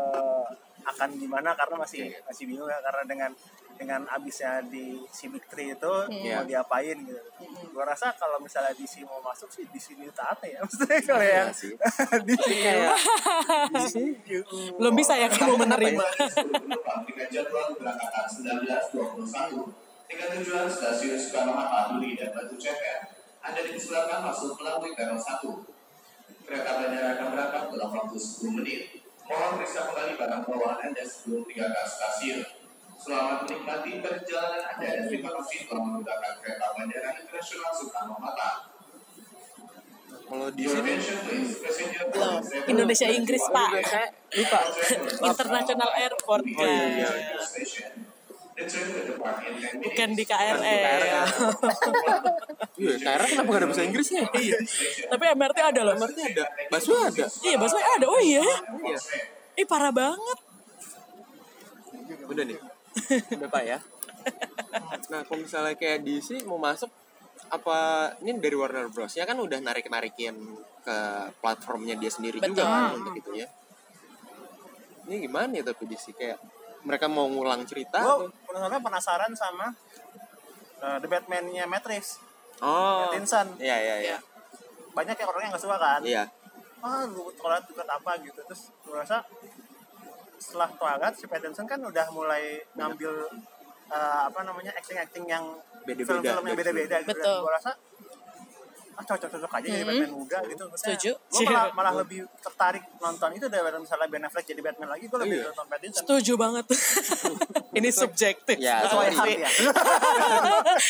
S3: akan gimana karena masih masih bingung ya karena dengan dengan abisnya di si Big Three itu
S2: Iya.
S3: mau diapain gitu. Gue rasa kalau misalnya DC mau masuk sih di sini taatnya ya maksudnya kalau
S1: Iya
S3: yang
S2: Iya sih. Iya.
S3: di sini
S2: kayak
S1: Belum bisa ya kamu menerima.
S4: dengan jadwal keberangkatan 1921 dengan tujuan stasiun Soekarno Hatta Duri dan Batu Ceper. Anda dipersilakan masuk melalui peron 1. Kereta bandara akan berangkat dalam waktu 10 menit. Mohon periksa kembali barang bawaan Anda sebelum tiga stasiun. Selamat menikmati perjalanan Anda dan terima kasih telah menggunakan kereta bandara internasional Soekarno Hatta.
S2: kalau di
S4: Your
S2: sini
S4: attention please, passenger.
S1: Loh, Indonesia Inggris Pak.
S2: Iya, lupa
S1: International Airport
S2: Oh, iya,
S1: guys.
S2: iya,
S4: Station. The train will depart in 10 minutes.
S1: Bukan di E.
S2: E.
S1: KRL.
S2: iya sekarang kenapa gak ada bahasa Inggrisnya
S1: Tapi MRT ada loh.
S2: MRT ada Basu ada
S1: Iya, busway ada. Oh iya. Ih, parah banget.
S2: udah nih udah pak ya nah kalau misalnya kayak DC mau masuk apa ini dari Warner Bros ya kan udah narik narikin ke platformnya dia sendiri juga
S1: Betul.
S2: kan untuk itu ya ini gimana ya tapi DC kayak mereka mau ngulang cerita
S3: gue
S2: atau-
S3: penasaran penasaran sama uh, The Batman-nya Matrix
S2: oh
S3: Pattinson.
S2: iya iya
S1: Iya.
S2: iya
S3: banyak yang orangnya nggak suka kan
S2: iya
S3: ah lu toilet buat apa gitu terus gue rasa setelah toilet si Pattinson kan udah mulai ngambil eh, apa namanya acting acting yang
S2: Beda-beda.
S3: film-film yang beda-beda gitu Dan
S1: Betul.
S3: gue rasa ah cocok-cocok aja jadi Batman muda gitu. Maksudnya,
S1: Setuju.
S3: Gue malah, malah lebih tertarik nonton itu daripada misalnya Ben Affleck jadi Batman lagi, gue lebih
S2: Iya.
S3: nonton Pattinson.
S1: Setuju banget. Ini subjektif.
S2: Ya,
S1: banget
S3: Sesuai
S2: sorry.
S1: sih.
S3: hati ya.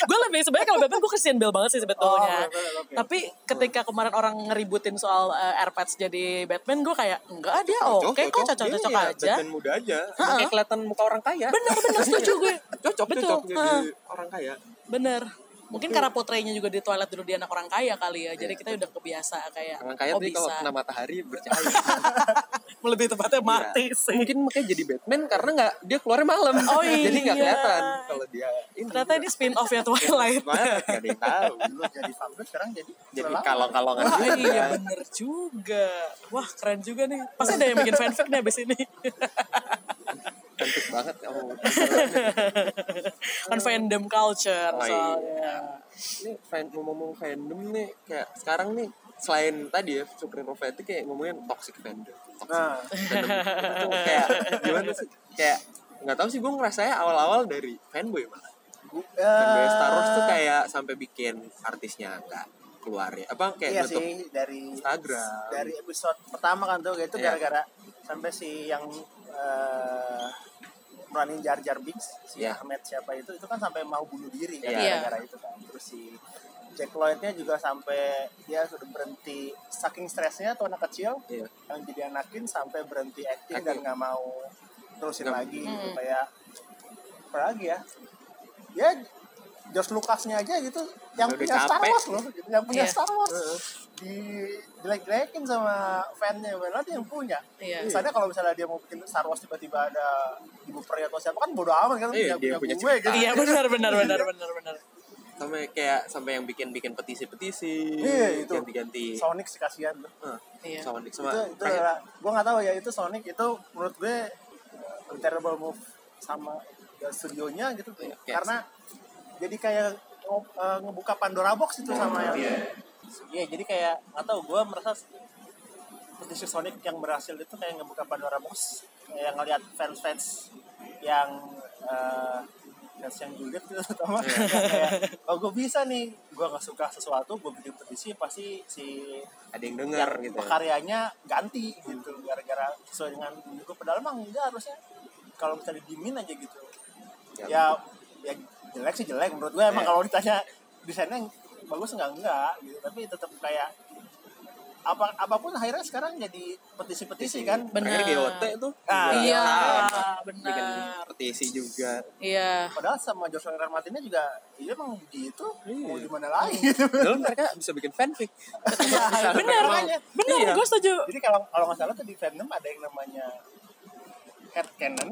S1: gue lebih sebenarnya kalau Batman gue Christian Bale banget sih sebetulnya.
S3: Oh, Batman, oke.
S1: Tapi ketika kemarin orang ngeributin soal eh, AirPods jadi Batman, gue kayak enggak dia oke kok cocok-cocok
S2: Iya,
S1: aja.
S2: Batman muda aja.
S1: Ha-ha.
S2: Kayak kelihatan muka orang kaya.
S1: Bener bener setuju gue.
S2: Cocok,
S1: Betul.
S2: cocok jadi
S1: Ha.
S2: orang kaya.
S1: Bener. Mungkin karena potrenya juga di toilet dulu dia anak orang kaya kali ya. Jadi kita udah kebiasa kayak
S2: Iya, Orang kaya
S1: oh,
S2: tadi kalau
S1: bisa.
S2: kena matahari bercahaya.
S1: lebih tepatnya mati sih.
S2: Mungkin makanya jadi Batman karena nggak dia keluarnya malam.
S1: Oh,
S2: Jadi
S1: iya.
S2: nggak kelihatan kalau dia ini.
S1: Ternyata ini spin off ya
S2: Iya,
S1: Twilight.
S2: banget nggak ada yang tahu.
S3: Dulu jadi vampir, sekarang jadi
S2: Jadi
S3: kelelawar.
S2: kalong-kalongan gitu ya.
S1: Wah,
S2: juga.
S1: iya bener juga. Wah, keren juga nih. Pasti ada yang bikin fanfic nih abis ini.
S2: Cantik banget oh. kamu.
S1: kan fandom culture
S2: Oh, iya.
S1: soalnya.
S2: Ini fan, ngomong fandom nih kayak sekarang nih selain tadi ya superhero fanatik kayak ngomongin toxic fandom. Toxic
S3: Nah,
S2: fandom tuh kayak gimana sih? Kayak nggak tahu sih gue ngerasanya awal-awal dari fanboy malah.
S3: gue,
S2: Fanboy Star Wars tuh kayak sampai bikin artisnya nggak keluar ya. Apa kayak
S3: iya
S2: nutup
S3: sih dari
S2: Instagram.
S3: dari episode pertama kan tuh itu
S2: Iya.
S3: gara-gara sampai si yang eh running Jar Jar Binks si
S2: Iya.
S3: Ahmed siapa itu itu kan sampai mau bunuh diri kan
S2: Iya.
S3: gara-gara itu kan terus si Jack Lloydnya juga sampai dia sudah berhenti saking stresnya tuh anak kecil
S2: Iya.
S3: yang jadi anakin sampai berhenti acting dan
S2: Acting.
S3: nggak mau terusin
S2: Nggak-
S3: lagi gitu
S1: Hmm.
S3: kayak apa lagi ya ya George Lucasnya aja gitu yang
S2: Udah
S3: punya Star
S2: capek.
S3: Wars loh gitu, yang punya
S1: Iya.
S3: Star Wars di jelek-jelekin sama fannya padahal dia yang punya
S1: Iya.
S3: misalnya kalau misalnya dia mau bikin Star Wars tiba-tiba ada ibu peri atau siapa kan bodo amat kan
S2: Iya, dia punya
S3: gue
S2: cerita.
S3: gitu
S1: Iya benar benar benar benar benar.
S2: sampai kayak sampai yang bikin bikin petisi-petisi
S3: Iya, itu.
S2: ganti-ganti
S3: Sonic sih kasihan tuh
S2: Eh,
S1: Iya.
S2: sama Nick sama
S3: itu itu adalah gue nggak tahu ya itu Sonic itu menurut gue uh, terrible move sama ya, studionya gitu
S2: Iya, kayak-
S3: karena jadi kayak ngo- uh, ngebuka Pandora box itu sama yang
S4: Iya.
S3: iya jadi kayak nggak tahu gue merasa petisi Sonic yang berhasil itu kayak ngebuka Pandora box kayak ngelihat fans fans yang uh, fans yang julid gitu terutama
S2: Iya.
S3: yang kayak oh gue bisa nih gue nggak suka sesuatu gue bikin petisi pasti si
S2: ada yang dengar
S3: yang
S2: gitu ya.
S3: Karyanya ganti gitu gara-gara sesuai dengan gue padahal emang enggak harusnya kalau misalnya didiemin aja gitu.
S2: Ya,
S3: Ya ya jelek sih jelek menurut gue emang
S2: Iya.
S3: kalau ditanya desainnya bagus enggak enggak gitu tapi tetap kayak apa apapun akhirnya sekarang jadi petisi-petisi kan
S2: Terakhir
S1: Benar.
S2: GOT tuh
S3: Ah,
S2: juga
S1: Iya,
S2: sama. bikin
S1: benar.
S2: petisi juga
S1: Iya.
S3: padahal sama Joshua R. R. Martinnya juga dia emang gitu mau
S2: Iya.
S3: gimana lagi gitu
S2: Belum mereka bisa bikin fanfic
S1: Benar.
S2: Bisa mereka mau.
S1: Benar,
S2: Iya.
S1: gue setuju.
S3: Jadi kalau kalau nggak salah tuh di fandom ada yang namanya head canon,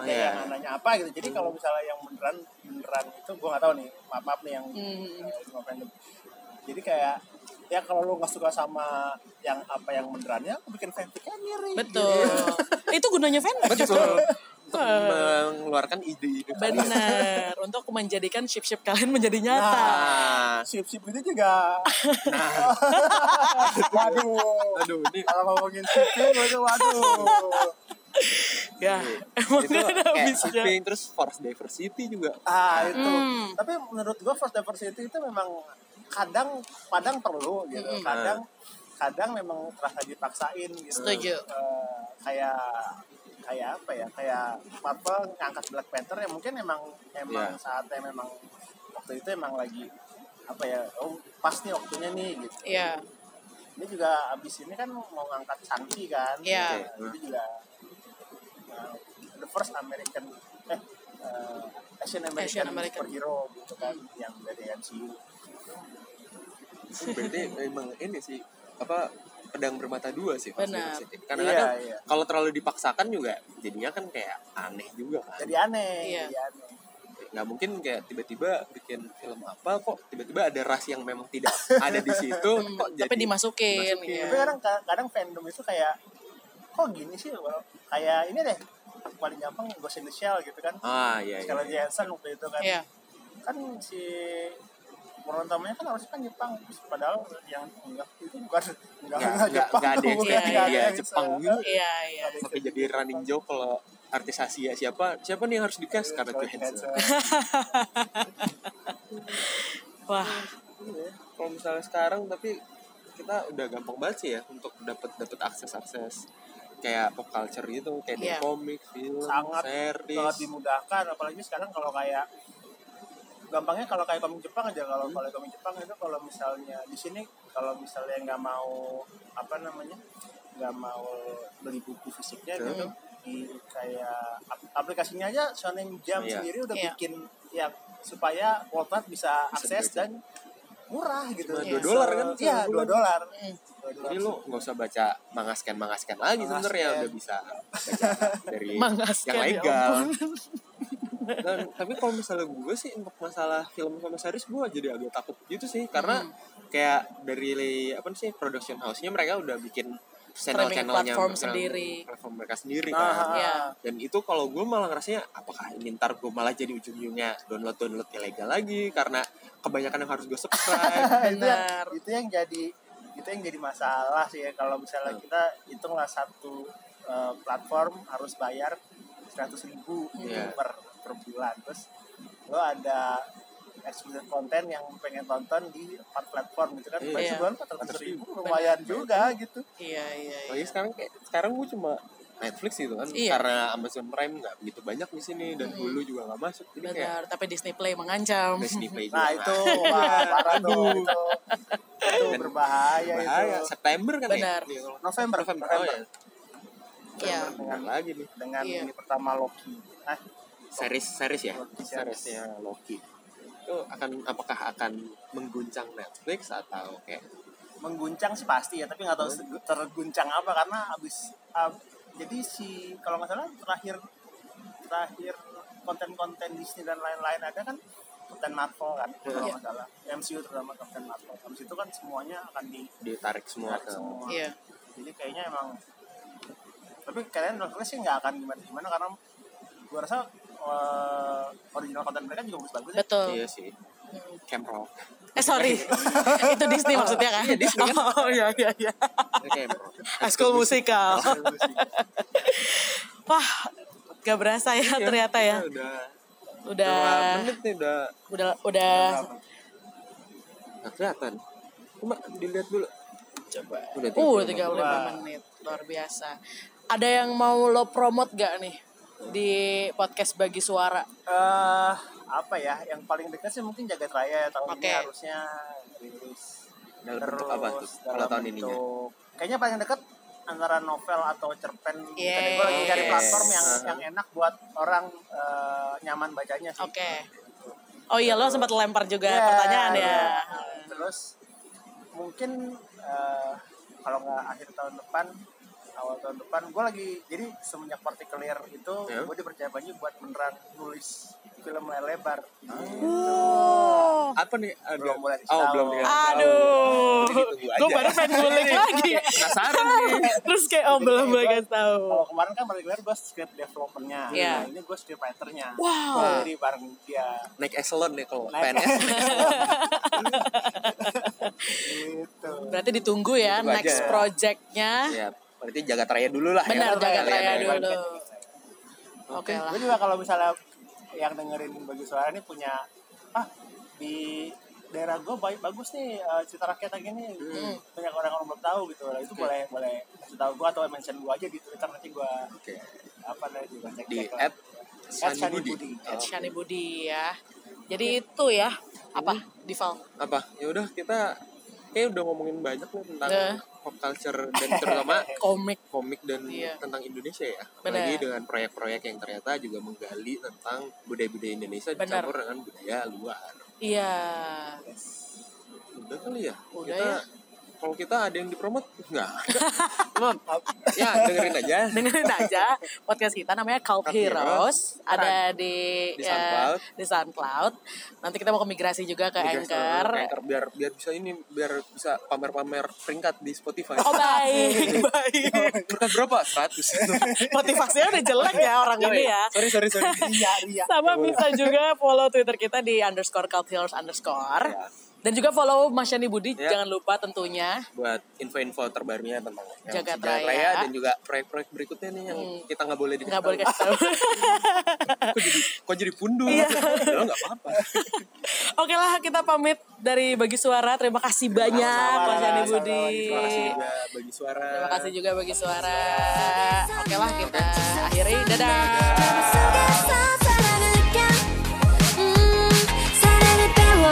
S3: ada
S2: Oh, iya.
S3: yang nanya apa gitu. Jadi kalau misalnya yang beneran beneran itu gue nggak tahu nih, maaf maaf nih yang
S1: Hmm.
S3: eh, semua fandom. Jadi kayak ya kalau lo nggak suka sama yang apa yang benerannya, lo bikin fanficnya mirip.
S1: Betul.
S3: Gitu.
S1: Itu gunanya fanfic.
S2: betul Untuk mengeluarkan ide-ide kalian.
S1: Benar. Untuk menjadikan ship-ship kalian menjadi nyata.
S2: nah
S3: Sip sip itu juga. waduh.
S2: aduh ini
S3: Kalau ngomongin sip itu waduh.
S1: ya, emang
S2: itu
S1: gak ada
S2: kayak
S1: habisnya.
S2: shipping terus force diversity juga
S3: Ah itu.
S1: Hmm.
S3: Tapi menurut gua first diversity itu memang kadang kadang perlu gitu.
S1: Mm-mm.
S3: Kadang kadang memang terasa dipaksain gitu.
S1: Setuju.
S3: Eh, kayak kayak apa ya? Kayak Marvel ngangkat Black Panther ya mungkin emang emang
S2: Iya.
S3: saatnya memang waktu itu emang lagi apa ya? Oh, pas nih waktunya nih gitu.
S1: Iya.
S3: Ini juga abis ini kan mau ngangkat Santi kan.
S1: Iya.
S3: Nah, Itu juga uh, the first American eh uh, Asian American,
S1: Asian American.
S3: superhero gitu kan yang dari MCU.
S2: berarti memang ini sih apa pedang bermata dua sih force
S1: Benar.
S2: diversity. kadang-kadang
S3: Iya, iya.
S2: kalau terlalu dipaksakan juga jadinya kan kayak aneh juga kan
S3: Jadi aneh,
S1: Iya.
S3: jadi aneh.
S2: nggak mungkin kayak tiba-tiba bikin film apa kok tiba-tiba ada ras yang memang tidak ada di situ
S1: Hmm,
S2: kok jadi
S1: Tapi dimasukin.
S2: Masukin.
S1: iya.
S3: Tapi kadang kadang fandom itu kayak kok gini sih Well, kayak ini deh paling gampang Ghost in the Shell gitu kan.
S2: ah iya iya
S3: Scarlett Johansson waktu itu kan.
S1: Iya.
S3: Kan si pemeran utamanya kan harusnya kan Jepang Terus padahal yang enggak itu bukan
S2: nggak
S3: enggak, enggak
S2: nggak
S3: Jepang
S2: nggak ada yang
S3: bukan,
S1: Iya,
S2: seperti
S3: nggak ada
S2: dia
S3: yang
S2: Jepang
S3: se-
S2: gitu
S1: Iya, iya.
S2: sampai jadi running joke kalau artis Asia siapa siapa nih yang harus di cast karena
S3: Scarlett
S2: Johansson
S3: Johansson.
S1: Wah,
S2: kalau misalnya sekarang tapi kita udah gampang banget sih ya untuk dapat dapat akses akses kayak pop culture gitu kayak dari
S1: Iya.
S2: komik film
S3: sangat sangat
S2: series
S3: dimudahkan apalagi sekarang kalau kayak gampangnya kalau kayak komik Jepang aja kalau kalau komik Jepang itu kalau misalnya di sini kalau misalnya nggak mau apa namanya nggak mau beli buku fisiknya
S2: Betul.
S3: gitu di kayak ap- aplikasinya aja Shonen Jump
S2: Iya.
S3: sendiri udah
S1: Iya.
S3: bikin ya supaya Walmart bisa akses
S2: dibaca.
S3: dan murah gitu.
S2: Cuma
S1: dua
S3: So,
S2: dolar kan
S3: Iya,
S2: sebulan.
S3: 2 dolar.
S1: Mm.
S3: Dua
S2: jadi
S3: dolar. Nah,
S2: lo nggak usah baca mangaskan mangaskan lagi
S3: Mangasken.
S2: sebenarnya udah bisa baca dari
S1: Mangaskan,
S2: yang
S1: ya
S2: legal
S1: ampun.
S2: Dan, tapi kalau misalnya gue sih untuk masalah film sama series gue jadi agak takut gitu sih
S1: Hmm.
S2: karena kayak dari apa sih production house-nya mereka udah bikin channel channelnya
S1: platform sendiri.
S2: platform mereka sendiri
S3: Nah,
S2: kan
S1: Iya.
S2: dan itu kalau gue malah ngerasanya apakah ini ntar gue malah jadi ujung-ujungnya download download ilegal lagi karena kebanyakan yang harus gue subscribe
S3: Nah, itu yang,
S1: Benar.
S3: itu yang jadi itu yang jadi masalah sih ya kalau misalnya
S2: Hmm.
S3: kita hitunglah satu eh, platform harus bayar seratus ribu gitu
S2: Iya.
S3: per per bulan terus lo ada exclusive konten yang pengen tonton di empat platform gitu kan
S2: Iya.
S3: yeah. sebulan empat ribu lumayan juga gitu
S1: Iya, iya,
S2: lagi
S1: iya.
S2: sekarang kayak sekarang gue cuma Netflix gitu kan
S1: Iya. Hmm.
S2: karena Amazon Prime nggak begitu banyak di sini dan Hulu juga nggak masuk jadi kayak
S1: Benar, tapi Disney Play mengancam.
S2: Disney Play juga
S3: nah
S2: nggak
S3: itu wah
S1: iya,
S3: parah tuh itu itu
S2: Dan
S3: berbahaya,
S2: bahaya
S3: itu
S2: September kan
S1: Benar.
S2: ya Iya,
S3: November
S2: November oh,
S3: November
S2: ya.
S1: Iya.
S2: Bentar lagi nih
S3: dengan
S1: Iya.
S3: ini pertama Loki ah
S2: series series ya
S3: Loki series.
S2: seriesnya Loki itu akan apakah akan mengguncang Netflix atau kayak
S3: mengguncang sih pasti ya tapi nggak tahu se- terguncang apa karena abis ab- jadi si kalau nggak salah terakhir terakhir konten-konten Disney dan lain-lain ada kan Captain Marvel kan kalau nggak salah MCU terutama Captain Marvel habis itu kan semuanya akan di
S2: ditarik semua ke
S3: semua
S1: Iya.
S3: jadi kayaknya emang tapi kalian Netflix sih nggak akan gimana-gimana karena gua rasa eh, original konten mereka juga bagus-bagus ya.
S1: Betul.
S2: iya sih
S1: Hmm.
S2: Camp Rock
S1: Eh sorry, itu Disney maksudnya kan? Iya, Disney kan? Oh iya, iya, iya.
S2: Camp Rock
S1: High School Musical. Wah, gak berasa ya ternyata ya.
S2: Kita udah berapa
S1: Udah,
S2: Iya, menit nih udah
S1: udah, udah.
S2: nggak kelihatan cuma dilihat dulu
S1: Coba.
S2: udah
S1: Uh, 35
S2: 35
S3: Wah.
S1: menit. Luar biasa. Ada yang mau lo promote gak nih? Di podcast bagi suara.
S3: eh apa ya yang paling dekat sih mungkin jagat raya ya tahun
S1: Oke.
S3: ini harusnya rilis
S2: dalam bentuk apa tuh kalau
S3: dalam
S2: tahun ininya
S3: bentuk- kayaknya paling dekat antara novel atau cerpen
S1: Yes.
S3: Jadi gue lagi
S2: Iya.
S3: cari
S1: Yes.
S3: platform yang
S2: Uh-huh.
S3: yang enak buat orang eh, nyaman bacanya sih
S1: Oke. Oh iya, lo sempat lempar juga
S3: Ya,
S1: pertanyaan ya.
S3: iya. terus mungkin eh, kalau nggak akhir tahun depan awal tahun depan gue lagi jadi semenjak partikelir itu
S2: Ya.
S3: gue dipercaya banyak buat beneran nulis film layar lebar
S1: Wow.
S2: apa nih ada
S3: Belum mulai
S2: oh
S3: diketahui.
S2: belum Oh, dikasih tahu.
S1: Aduh,
S2: Jadi ditunggu aja.
S1: gue baru pengen ngulik lagi. ya.
S2: gitu. penasaran nih
S1: Terus kayak oh belum
S3: Jadi
S1: belum
S3: kayak
S1: kasih tahu.
S3: Kalau kemarin kan particular gue script developernya,
S1: Iya.
S3: nah ini gue script writernya.
S1: Wow.
S3: Jadi bareng dia
S2: naik eselon nih kalau
S3: Naik.
S2: PNS
S3: gitu.
S1: Berarti ditunggu ya
S2: Ditunggu
S1: next
S2: aja.
S1: projectnya.
S2: ya berarti jagat raya dulu lah
S1: Benar
S2: ya,
S1: jaga
S2: Kalian
S1: raya
S2: ya kan?
S1: dulu. Oke lah.
S3: Gue juga kalau misalnya yang dengerin bagi suara ini punya ah di daerah gue baik bagus nih eh, cerita rakyat kayak gini banyak orang orang belum tahu gitu Nah, itu boleh boleh kasih tahu gue atau mention gue aja di twitter nanti gue
S2: Oke.
S3: apa namanya juga cek
S2: di
S3: cek lah.
S2: app
S3: At
S2: Sandi Budi.
S3: Budi.
S2: Oh.
S1: Shani Budi ya. Jadi itu ya apa
S2: Hmm.
S1: Dival?
S2: apa ya udah kita kayak udah ngomongin banyak nih tentang
S1: Udah.
S2: pop culture dan terutama
S1: Komik.
S2: komik dan
S1: Iya.
S2: tentang Indonesia ya
S1: Benar.
S2: apalagi dengan proyek-proyek yang ternyata juga menggali tentang budaya-budaya Indonesia
S1: Benar.
S2: dicampur dengan budaya luar
S1: Iya.
S2: udah kali ya
S1: Udah
S2: kita
S1: ya.
S2: kalau kita ada yang dipromot nggak Maaf. ya dengerin aja
S1: Dengerin aja podcast kita namanya Cult
S2: Cult
S1: Heroes
S2: Heroes.
S1: ada di
S2: Di
S1: ya,
S2: SoundCloud.
S1: di SoundCloud. Nanti kita mau ke migrasi juga ke
S2: Migrasi
S1: Anchor.
S2: ke Anchor, biar biar bisa ini biar bisa pamer-pamer peringkat di Spotify
S1: Oh baik, baik.
S2: peringkat berapa 100
S1: motivasinya udah jelek ya orang ini ya.
S2: sorry sorry sorry
S3: Ria, Ria.
S2: Iya.
S1: Sama bisa juga follow Twitter kita di underscore culthealers underscore. Dan juga follow Mas Yani Budi
S2: Ya.
S1: jangan lupa tentunya.
S2: buat info-info terbarunya tentang LC
S1: Jagat
S2: Jagat
S1: Raya. Hmm.
S2: dan juga proyek-proyek berikutnya nih yang kita nggak boleh dikasih
S1: Nggak boleh
S2: tahu.
S1: kasih tahu.
S2: kok jadi kok jadi pundung
S1: Iya.
S2: Padahal nggak apa-apa
S1: Oke lah kita pamit dari bagi suara. Terima kasih banyak Mas Yani Budi.
S2: terima kasih juga bagi suara
S1: Iya. Terima kasih juga bagi suara. Oke lah kita akhiri. Dadah.
S5: 속에서 사랑을 느껴 음 사랑을 배워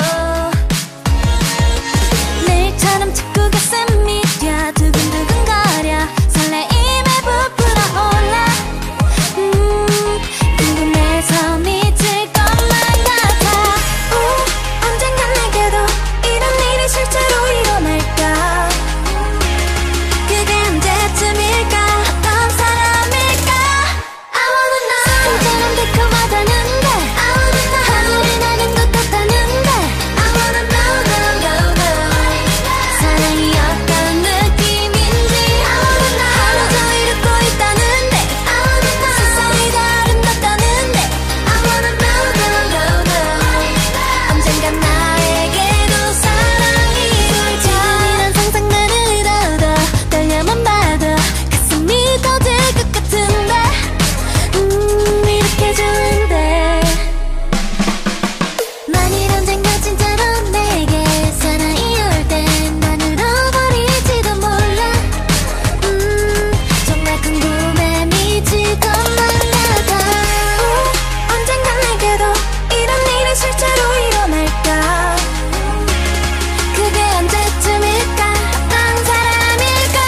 S5: 내일처럼 자꾸 가슴이 뛰어 두근두근 거려 설레임에 부풀어 올라 음 궁금해서 미칠 것만 같아 우 언젠가 내게도 이런 일이 실제로 일어날까 그게 언제쯤일까 어떤 사람일까 I wanna know 술처럼 달콤하다는데 I wanna know 하늘이 나는 것 같다는데 I wanna know know know know 사랑이 어떤 느낌인지 I wanna know 하루 종일 웃고 있다는데 I wanna know 세상이 다 아름답다는데 I wanna know know know know 언젠가 나에게도 사랑이 돌자 이런 상상만을 이뤄도 떨려만 봐도 가슴이 터질 것 같은데 음 이렇게 좋은데 만일 언젠가 진짜로 내게 사랑이 올 땐 난 울어버릴지도 몰라 음 정말 궁금해 미칠 것만 같아 우, 언젠가 내게도 이런 일이 실제로 일어날까 그게 언제쯤일까 어떤 사람일까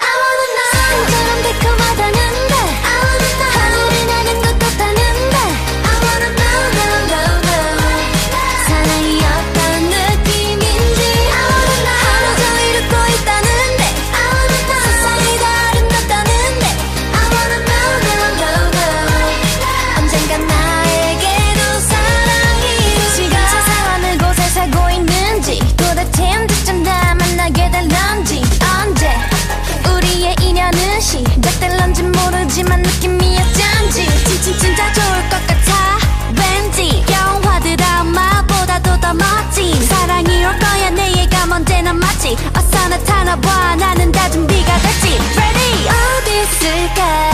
S5: I wanna know 술처럼 달콤하다는데 I wanna know 하늘이 나는 것 같다는데 I wanna know know know know 사랑이 어떤 느낌인지 I wanna know 하루 종일 웃고 있다는데 I wanna know 세상이 다 아름답다는데 I wanna know know know know 언젠가 나에게도 사랑이 지금 세상 어느 곳에 살고 있는지 도대체 언제쯤 다 만나게 될 런지 언제 우리의 인연은 시작될 런지 모르지만 느낌이 어쩐지 진짜 진짜 좋을 것 같아 왠지 영화 드라마보다도 더 멋진 사랑이 올 거야 내 예감 언제나 맞지 어서 나타나봐 나는 다 준비가 됐지 Ready 어디 있을까